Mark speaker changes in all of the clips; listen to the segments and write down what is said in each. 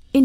Speaker 1: verscheen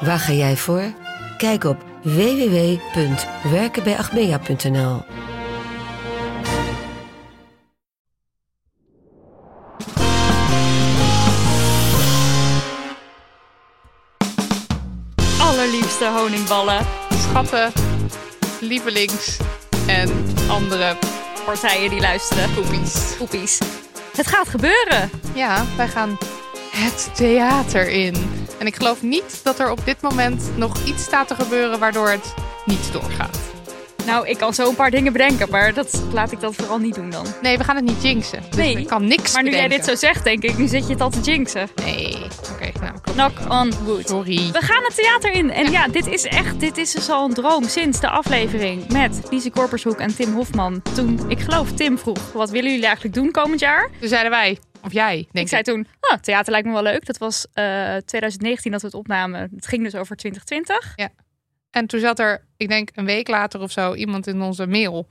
Speaker 2: Waar ga jij voor? Kijk op www.werkenbijagmea.nl.
Speaker 3: allerliefste honingballen.
Speaker 4: schatten, lievelings en andere
Speaker 3: Partijen die luisteren.
Speaker 4: poepies.
Speaker 3: Poepies. Het gaat gebeuren.
Speaker 4: Ja, wij gaan het theater in. En ik geloof niet dat er op dit moment nog iets staat te gebeuren waardoor het niet doorgaat.
Speaker 3: Nou, ik kan zo een paar dingen bedenken, maar dat laat ik dat vooral niet doen dan.
Speaker 4: Nee, we gaan het niet jinxen. Dus
Speaker 3: Nee,
Speaker 4: ik kan niks
Speaker 3: Maar nu jij dit
Speaker 4: bedenken.
Speaker 3: zo zegt, denk ik, nu zit je het al te jinxen.
Speaker 4: Nee, oké, nou, klopt.
Speaker 3: Knock on wood.
Speaker 4: Sorry.
Speaker 3: We gaan het theater in. En ja, dit is echt, dit is dus al een droom sinds de aflevering met Lise Korpershoek en Tim Hofman. Toen, ik geloof, Tim vroeg, wat willen jullie eigenlijk doen komend jaar?
Speaker 4: Toen zeiden wij, of jij, denk ik.
Speaker 3: ik zei toen, ah, theater lijkt me wel leuk. Dat was eh, 2019 dat we het opnamen. Het ging dus over 2020.
Speaker 4: En toen zat er, ik denk een week later of zo, iemand in onze mail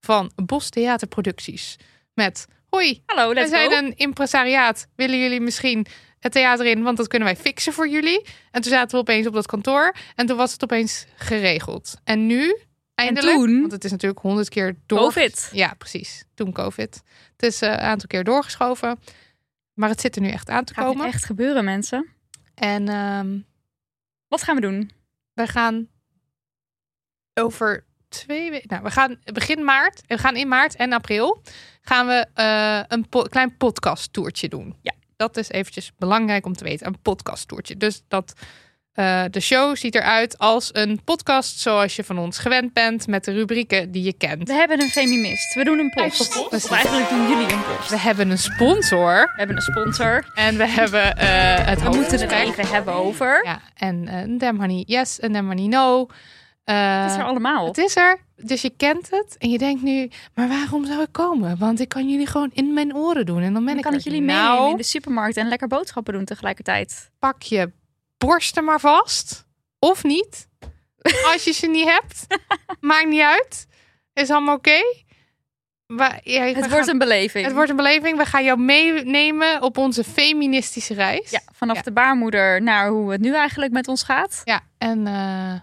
Speaker 4: van Bos Theaterproducties. Met, hoi,
Speaker 3: Hallo,
Speaker 4: We
Speaker 3: let's
Speaker 4: zijn
Speaker 3: go.
Speaker 4: een impresariaat. Willen jullie misschien het theater in? Want dat kunnen wij fixen voor jullie. En toen zaten we opeens op dat kantoor. En toen was het opeens geregeld. En nu, eindelijk.
Speaker 3: toen?
Speaker 4: want het is natuurlijk honderd keer door.
Speaker 3: Covid.
Speaker 4: Ja, precies. Toen COVID. Het is eh, een aantal keer doorgeschoven. Maar het zit er nu echt aan te
Speaker 3: Gaat
Speaker 4: komen.
Speaker 3: dit echt gebeuren, mensen?
Speaker 4: En ehm
Speaker 3: Wat gaan we doen?
Speaker 4: we gaan over twee weken. Nou, we gaan begin maart. We gaan in maart en april gaan we eh, een po- klein podcast toertje doen.
Speaker 3: Ja.
Speaker 4: Dat is eventjes belangrijk om te weten. Een podcast toertje. Dus dat eh, de show ziet eruit als een podcast zoals je van ons gewend bent met de rubrieken die je kent.
Speaker 3: We hebben een feminist. We doen een post.
Speaker 4: Eigenlijk-
Speaker 3: Of eigenlijk doen jullie een post.
Speaker 4: We hebben een sponsor
Speaker 3: We hebben een sponsor.
Speaker 4: en we hebben eh, het
Speaker 3: We moeten het
Speaker 4: hoofdgesprek.
Speaker 3: even hebben over.
Speaker 4: Ja, en eh, een Dem Honey Yes, een Dem Honey No. Eh,
Speaker 3: Dat is er allemaal.
Speaker 4: Het is er, dus je kent het en je denkt nu, maar waarom zou ik komen? Want ik kan jullie gewoon in mijn oren doen en dan ben
Speaker 3: Dan
Speaker 4: ik
Speaker 3: kan
Speaker 4: er.
Speaker 3: ik jullie
Speaker 4: nou,
Speaker 3: meenemen in de supermarkt en lekker boodschappen doen tegelijkertijd.
Speaker 4: pak je borsten maar vast, of niet, als je ze niet hebt. Maakt niet uit, is allemaal oké. Maar, ja, we
Speaker 3: Het
Speaker 4: gaan-
Speaker 3: wordt een beleving.
Speaker 4: het wordt een beleving. We gaan jou meenemen op onze feministische reis.
Speaker 3: ja, vanaf
Speaker 4: Ja.
Speaker 3: de baarmoeder naar hoe het nu eigenlijk met ons gaat.
Speaker 4: Ja, en, eh,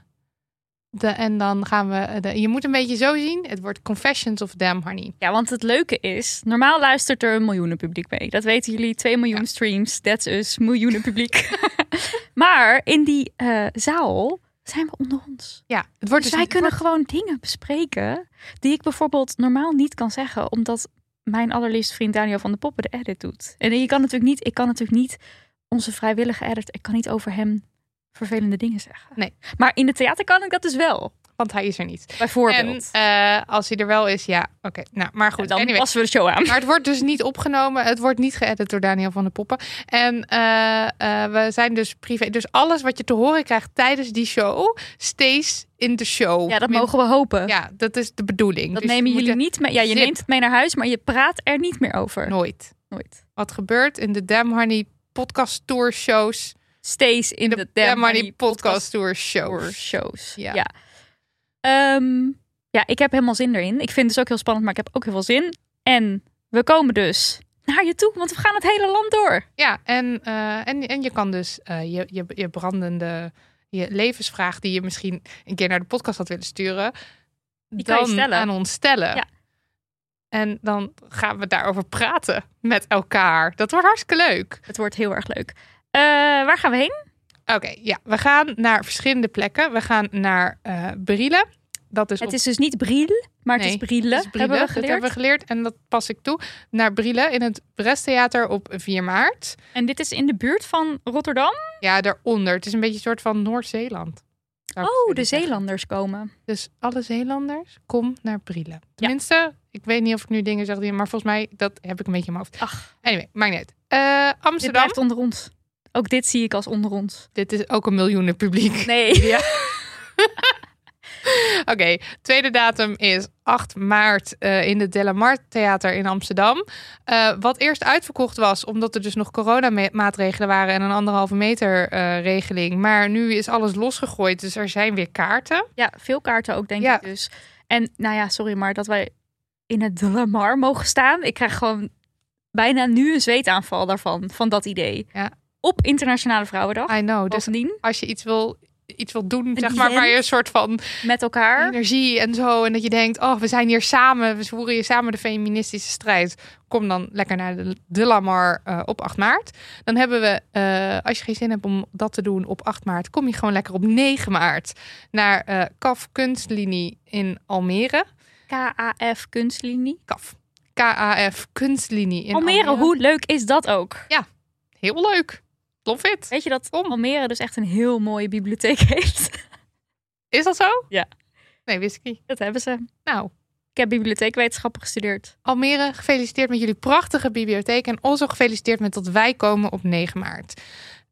Speaker 4: de, en dan gaan we. De, je moet een beetje zo zien: het wordt Confessions of Damn Honey.
Speaker 3: Ja, want het leuke is, normaal luistert er een miljoenen publiek mee. Dat weten jullie, 2 miljoen streams, that's us, miljoenen publiek. maar in die eh, zaal zijn we onder ons.
Speaker 4: Ja, het wordt
Speaker 3: Dus
Speaker 4: dus.
Speaker 3: wij kunnen gewoon dingen bespreken die ik bijvoorbeeld normaal niet kan zeggen, omdat mijn allerliefste vriend Daniel van de Poppen de edit doet. En je kan natuurlijk niet, ik kan natuurlijk niet onze vrijwillige edit, ik kan niet over hem vervelende dingen zeggen.
Speaker 4: Nee.
Speaker 3: Maar in het theater kan ik dat dus wel,
Speaker 4: Want hij is er niet. En
Speaker 3: bijvoorbeeld.
Speaker 4: eh, als hij er wel is, ja, oké. Nou, maar goed,
Speaker 3: dan
Speaker 4: anyway.
Speaker 3: passen we de show aan.
Speaker 4: Maar het wordt dus niet opgenomen. Het wordt niet geëdit door Daniel van de Poppen. En eh, eh, we zijn dus privé. Dus alles wat je te horen krijgt tijdens die show, stays in de show.
Speaker 3: Ja, dat mogen we hopen.
Speaker 4: Ja, dat is de bedoeling.
Speaker 3: Dat
Speaker 4: Dus
Speaker 3: nemen
Speaker 4: we
Speaker 3: jullie
Speaker 4: moeten
Speaker 3: niet mee. Ja, je
Speaker 4: zip.
Speaker 3: neemt het mee naar huis, maar je praat er niet meer over.
Speaker 4: Nooit.
Speaker 3: Nooit.
Speaker 4: Wat gebeurt in de Damn Honey podcast tour shows?
Speaker 3: Steeds in de,
Speaker 4: de
Speaker 3: Damn
Speaker 4: Damn Honey
Speaker 3: Money
Speaker 4: podcast tour show.
Speaker 3: Tour shows.
Speaker 4: Ja.
Speaker 3: Ja. Oh. Ja. Ehm, ja, ik heb helemaal zin erin. Ik vind het dus ook heel spannend, maar ik heb ook heel veel zin. En we komen dus naar je toe, want we gaan het hele land door.
Speaker 4: Ja, en, eh, en, en je kan dus eh, je, je, je brandende, je levensvraag die je misschien een keer naar de podcast had willen sturen,
Speaker 3: Die kan je
Speaker 4: dan
Speaker 3: stellen.
Speaker 4: aan ons stellen.
Speaker 3: Ja.
Speaker 4: En dan gaan we daarover praten met elkaar. Dat wordt hartstikke leuk.
Speaker 3: Het wordt heel erg leuk. Eh, waar gaan we heen?
Speaker 4: Oké, ja. We gaan naar verschillende plekken. We gaan naar eh Brille. Dat is
Speaker 3: Het
Speaker 4: op-
Speaker 3: is dus niet Briel, maar het
Speaker 4: Nee,
Speaker 3: is Brielle.
Speaker 4: het is Brille.
Speaker 3: Hebben we
Speaker 4: Dat
Speaker 3: geleerd.
Speaker 4: hebben we geleerd en dat pas ik toe. Naar Brille in het Bresttheater op 4 maart.
Speaker 3: En dit is in de buurt van Rotterdam.
Speaker 4: Ja, daaronder. Het is een beetje een soort van Noord-Zeeland. zou ik
Speaker 3: Oh,
Speaker 4: willen
Speaker 3: de
Speaker 4: zeggen.
Speaker 3: Zeelanders komen.
Speaker 4: Dus alle Zeelanders, kom naar Brielen. Tenminste, ik weet niet of ik nu dingen zeg, die, maar volgens mij dat heb ik een beetje in mijn hoofd.
Speaker 3: Ach,
Speaker 4: Anyway, maakt niet uit. Eh,
Speaker 3: dit
Speaker 4: Amsterdam,
Speaker 3: blijft
Speaker 4: dit,
Speaker 3: onder ons. Ook dit zie ik als onder ons.
Speaker 4: is ook een miljoenen publiek.
Speaker 3: Nee.
Speaker 4: Oké, tweede datum is 8 maart eh, in het Delamar Theater in Amsterdam. Eh, wat eerst uitverkocht was, omdat er dus nog coronamaatregelen waren en een anderhalve meter eh, regeling. Maar nu is alles losgegooid, dus er zijn weer kaarten.
Speaker 3: Ja, veel kaarten ook, denk
Speaker 4: Ja.
Speaker 3: ik dus. En nou ja, sorry, maar dat wij in het De Lamar mogen staan. Ik krijg gewoon bijna nu een zweetaanval daarvan, van dat idee.
Speaker 4: Ja.
Speaker 3: Op Internationale Vrouwendag.
Speaker 4: I know, dus
Speaker 3: Bovendien,
Speaker 4: als je iets wil, iets wil doen, zeg maar,
Speaker 3: event.
Speaker 4: waar je een soort van
Speaker 3: met elkaar.
Speaker 4: energie en zo. En dat je denkt, oh, we zijn hier samen. We voeren hier samen de feministische strijd. Kom dan lekker naar de, de Lamar eh, op 8 maart. Dan hebben we, eh, als je geen zin hebt om dat te doen op 8 maart... kom je gewoon lekker op 9 maart naar eh KAF Kunstlinie in Almere.
Speaker 3: KAF Kunstlinie.
Speaker 4: KAF. K-A-F Kunstlinie in Almere.
Speaker 3: Almere, hoe leuk is dat ook?
Speaker 4: Heel leuk. Love it.
Speaker 3: Weet je dat Almere dus echt een heel mooie bibliotheek heeft?
Speaker 4: Is dat zo?
Speaker 3: Ja.
Speaker 4: Nee, wist ik niet.
Speaker 3: Dat hebben ze.
Speaker 4: Nou,
Speaker 3: Ik heb bibliotheekwetenschappen gestudeerd.
Speaker 4: Almere, gefeliciteerd met jullie prachtige bibliotheek. En ons ook gefeliciteerd met dat wij komen op 9 maart.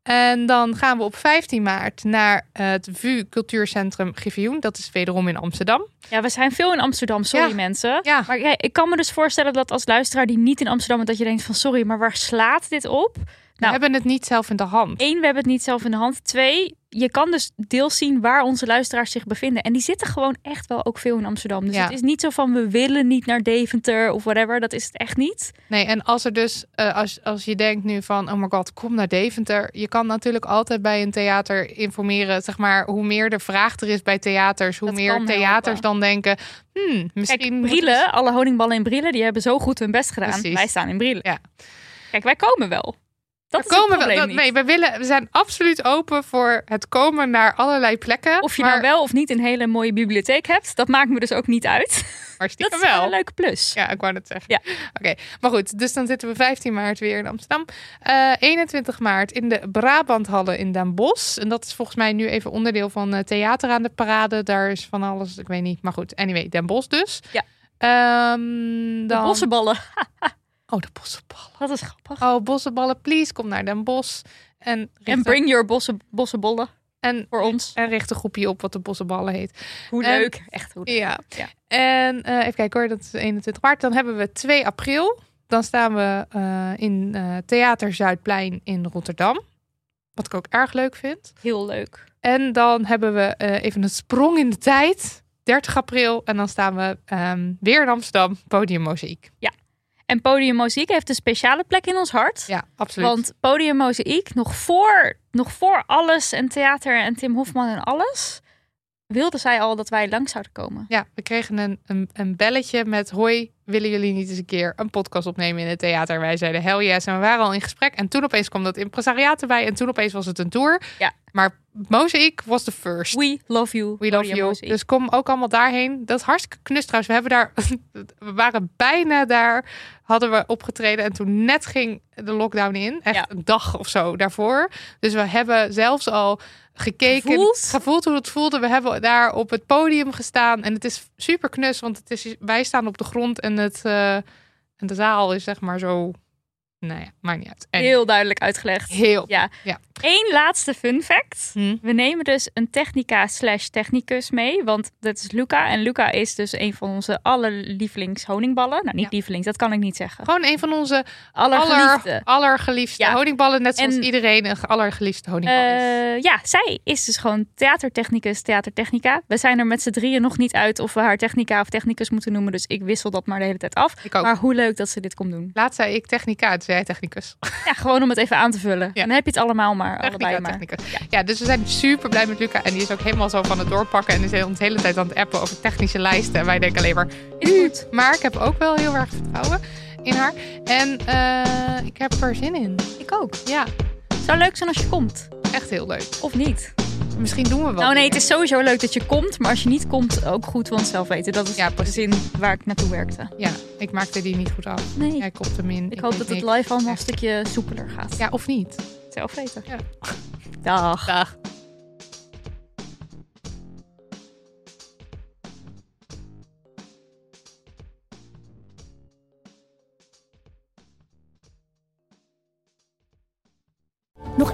Speaker 4: En dan gaan we op 15 maart naar eh, het VU Cultuurcentrum Griffioen. Dat is wederom in Amsterdam.
Speaker 3: Ja, we zijn veel in Amsterdam, sorry
Speaker 4: Ja.
Speaker 3: mensen.
Speaker 4: Ja.
Speaker 3: Maar kijk, ik kan me dus voorstellen dat als luisteraar die niet in Amsterdam bent, dat je denkt van sorry, maar waar slaat dit op? nou.
Speaker 4: We hebben het niet zelf in de hand.
Speaker 3: Eén, we hebben het niet zelf in de hand. Twee, je kan dus deels zien waar onze luisteraars zich bevinden. En die zitten gewoon echt wel ook veel in Amsterdam. Dus
Speaker 4: Ja.
Speaker 3: het is niet zo van we willen niet naar Deventer of whatever. Dat is het echt niet.
Speaker 4: Nee, en als er dus, eh, als, als je denkt nu van, oh my god, kom naar Deventer. Je kan natuurlijk altijd bij een theater informeren. Zeg maar, hoe meer de vraag er is bij theaters, hoe
Speaker 3: Dat
Speaker 4: meer
Speaker 3: kan
Speaker 4: theaters
Speaker 3: helpen.
Speaker 4: dan denken, hmm, misschien.
Speaker 3: Kijk,
Speaker 4: moeten we-
Speaker 3: Brielen, alle honingballen in Brielen, die hebben zo goed hun best gedaan.
Speaker 4: Precies.
Speaker 3: Wij staan in Brielen.
Speaker 4: Ja.
Speaker 3: Kijk, wij komen wel. Dat
Speaker 4: We
Speaker 3: is komen
Speaker 4: komen
Speaker 3: het
Speaker 4: wel,
Speaker 3: probleem
Speaker 4: dat-
Speaker 3: niet.
Speaker 4: nee, we, willen, we zijn absoluut open voor het komen naar allerlei plekken.
Speaker 3: Of je
Speaker 4: maar,
Speaker 3: nou wel of niet een hele mooie bibliotheek hebt, dat maakt me dus ook niet uit.
Speaker 4: Maar
Speaker 3: Dat
Speaker 4: stiekem
Speaker 3: is wel
Speaker 4: wel.
Speaker 3: een leuke plus.
Speaker 4: Ja, ik wou het zeggen.
Speaker 3: Ja.
Speaker 4: Oké, maar goed. Dus dan zitten we 15 maart weer in Amsterdam. Eh, 21 maart in de Brabanthallen in Den Bosch. En dat is volgens mij nu even onderdeel van eh, Theater aan de Parade. Daar is van alles, ik weet niet. Maar goed, anyway, Den Bosch dus.
Speaker 3: Ja.
Speaker 4: Ehm,
Speaker 3: De
Speaker 4: dan...
Speaker 3: bossenballen,
Speaker 4: Oh, de bossenballen.
Speaker 3: dat is grappig.
Speaker 4: Oh, bossenballen, please, kom naar Den Bosch. En, richt
Speaker 3: en
Speaker 4: een-
Speaker 3: bring your bossen, bossenbollen
Speaker 4: en,
Speaker 3: voor ons.
Speaker 4: en richt een groepje op wat de bossenballen heet.
Speaker 3: Hoe
Speaker 4: En-
Speaker 3: leuk. Echt hoe leuk.
Speaker 4: Ja.
Speaker 3: Ja.
Speaker 4: En eh, even kijken hoor, dat is 21 maart. Dan hebben we 2 april. Dan staan we eh, in eh, Theater Zuidplein in Rotterdam. Wat ik ook erg leuk vind.
Speaker 3: Heel leuk.
Speaker 4: En dan hebben we eh, even een sprong in de tijd. 30 april. En dan staan we ehm, weer in Amsterdam. Podium Mozaïek.
Speaker 3: En Podium Mozaïek heeft een speciale plek in ons hart.
Speaker 4: Ja, absoluut.
Speaker 3: Want Podium Mozaïek, nog voor, nog voor alles en theater en Tim Hofman en alles, wilde zij al dat wij lang zouden komen.
Speaker 4: Ja, we kregen een, een, een belletje met... Hoi, willen jullie niet eens een keer een podcast opnemen in het theater? Wij zeiden hell yes en we waren al in gesprek. En toen opeens kwam dat impresariaat erbij. En toen opeens was het een tour.
Speaker 3: Ja.
Speaker 4: Maar Mosaic was de first. We,
Speaker 3: We love you.
Speaker 4: love
Speaker 3: Podium
Speaker 4: you.
Speaker 3: Mozaïek.
Speaker 4: Dus kom ook allemaal daarheen. Dat is hartstikke knus trouwens. We, hebben daar, we waren bijna daar. Hadden we opgetreden. En toen net ging de lockdown in. Echt
Speaker 3: Ja.
Speaker 4: een dag of zo daarvoor. Dus we hebben zelfs al gekeken.
Speaker 3: Gevoeld?
Speaker 4: gevoeld hoe het voelde. We hebben daar op het podium gestaan. En het is super knus. Want het is, wij staan op de grond. En, het, eh, en de zaal is zeg maar zo... Nou ja, maakt niet uit. En
Speaker 3: Heel duidelijk uitgelegd.
Speaker 4: heel
Speaker 3: Ja.
Speaker 4: Ja.
Speaker 3: Eén laatste fun fact.
Speaker 4: Hm.
Speaker 3: We nemen dus een technica slash technicus mee. Want dat is Luca. En Luca is dus een van onze allerlievelings honingballen. Nou, niet
Speaker 4: Ja.
Speaker 3: lievelings, dat kan ik niet zeggen.
Speaker 4: Gewoon een van onze
Speaker 3: Allergeliefde.
Speaker 4: aller, allergeliefste
Speaker 3: Ja.
Speaker 4: honingballen. Net zoals
Speaker 3: En-
Speaker 4: iedereen een allergeliefde honingbal is.
Speaker 3: Eh, ja, zij is dus gewoon theatertechnicus, theatertechnica. We zijn er met z'n drieën nog niet uit of we haar technica of technicus moeten noemen. Dus ik wissel dat maar de hele tijd af.
Speaker 4: Ik ook.
Speaker 3: Maar hoe leuk dat ze dit komt doen.
Speaker 4: Laatst zei ik technica, toen zei jij technicus.
Speaker 3: Ja, gewoon om het even aan te vullen.
Speaker 4: Ja.
Speaker 3: Dan heb je het allemaal maar,
Speaker 4: Technica,
Speaker 3: allebei maar.
Speaker 4: technicus. Ja. dus we zijn super blij met Luca. En die is ook helemaal zo van het doorpakken. En is ons de hele tijd aan het appen over technische lijsten. En wij denken alleen maar...
Speaker 3: Is goed.
Speaker 4: Maar ik heb ook wel heel erg vertrouwen in haar. En eh, ik heb er zin in.
Speaker 3: Ik ook.
Speaker 4: Ja.
Speaker 3: Zou leuk zijn als je komt.
Speaker 4: Echt heel leuk.
Speaker 3: Of niet?
Speaker 4: Misschien doen we wat.
Speaker 3: nou nee,
Speaker 4: meer.
Speaker 3: het is sowieso leuk dat je komt. Maar als je niet komt, ook goed. Want zelf weten, dat is
Speaker 4: Ja,
Speaker 3: de
Speaker 4: precies.
Speaker 3: zin waar ik naartoe werkte.
Speaker 4: Ja, ik maakte die niet goed af.
Speaker 3: Nee,
Speaker 4: Jij kopt hem in.
Speaker 3: ik hoop
Speaker 4: deed
Speaker 3: dat het
Speaker 4: niks.
Speaker 3: live allemaal een stukje soepeler gaat.
Speaker 4: Ja, of niet?
Speaker 3: Zelf weten.
Speaker 4: Ja.
Speaker 3: Dag.
Speaker 4: Dag.
Speaker 1: Nog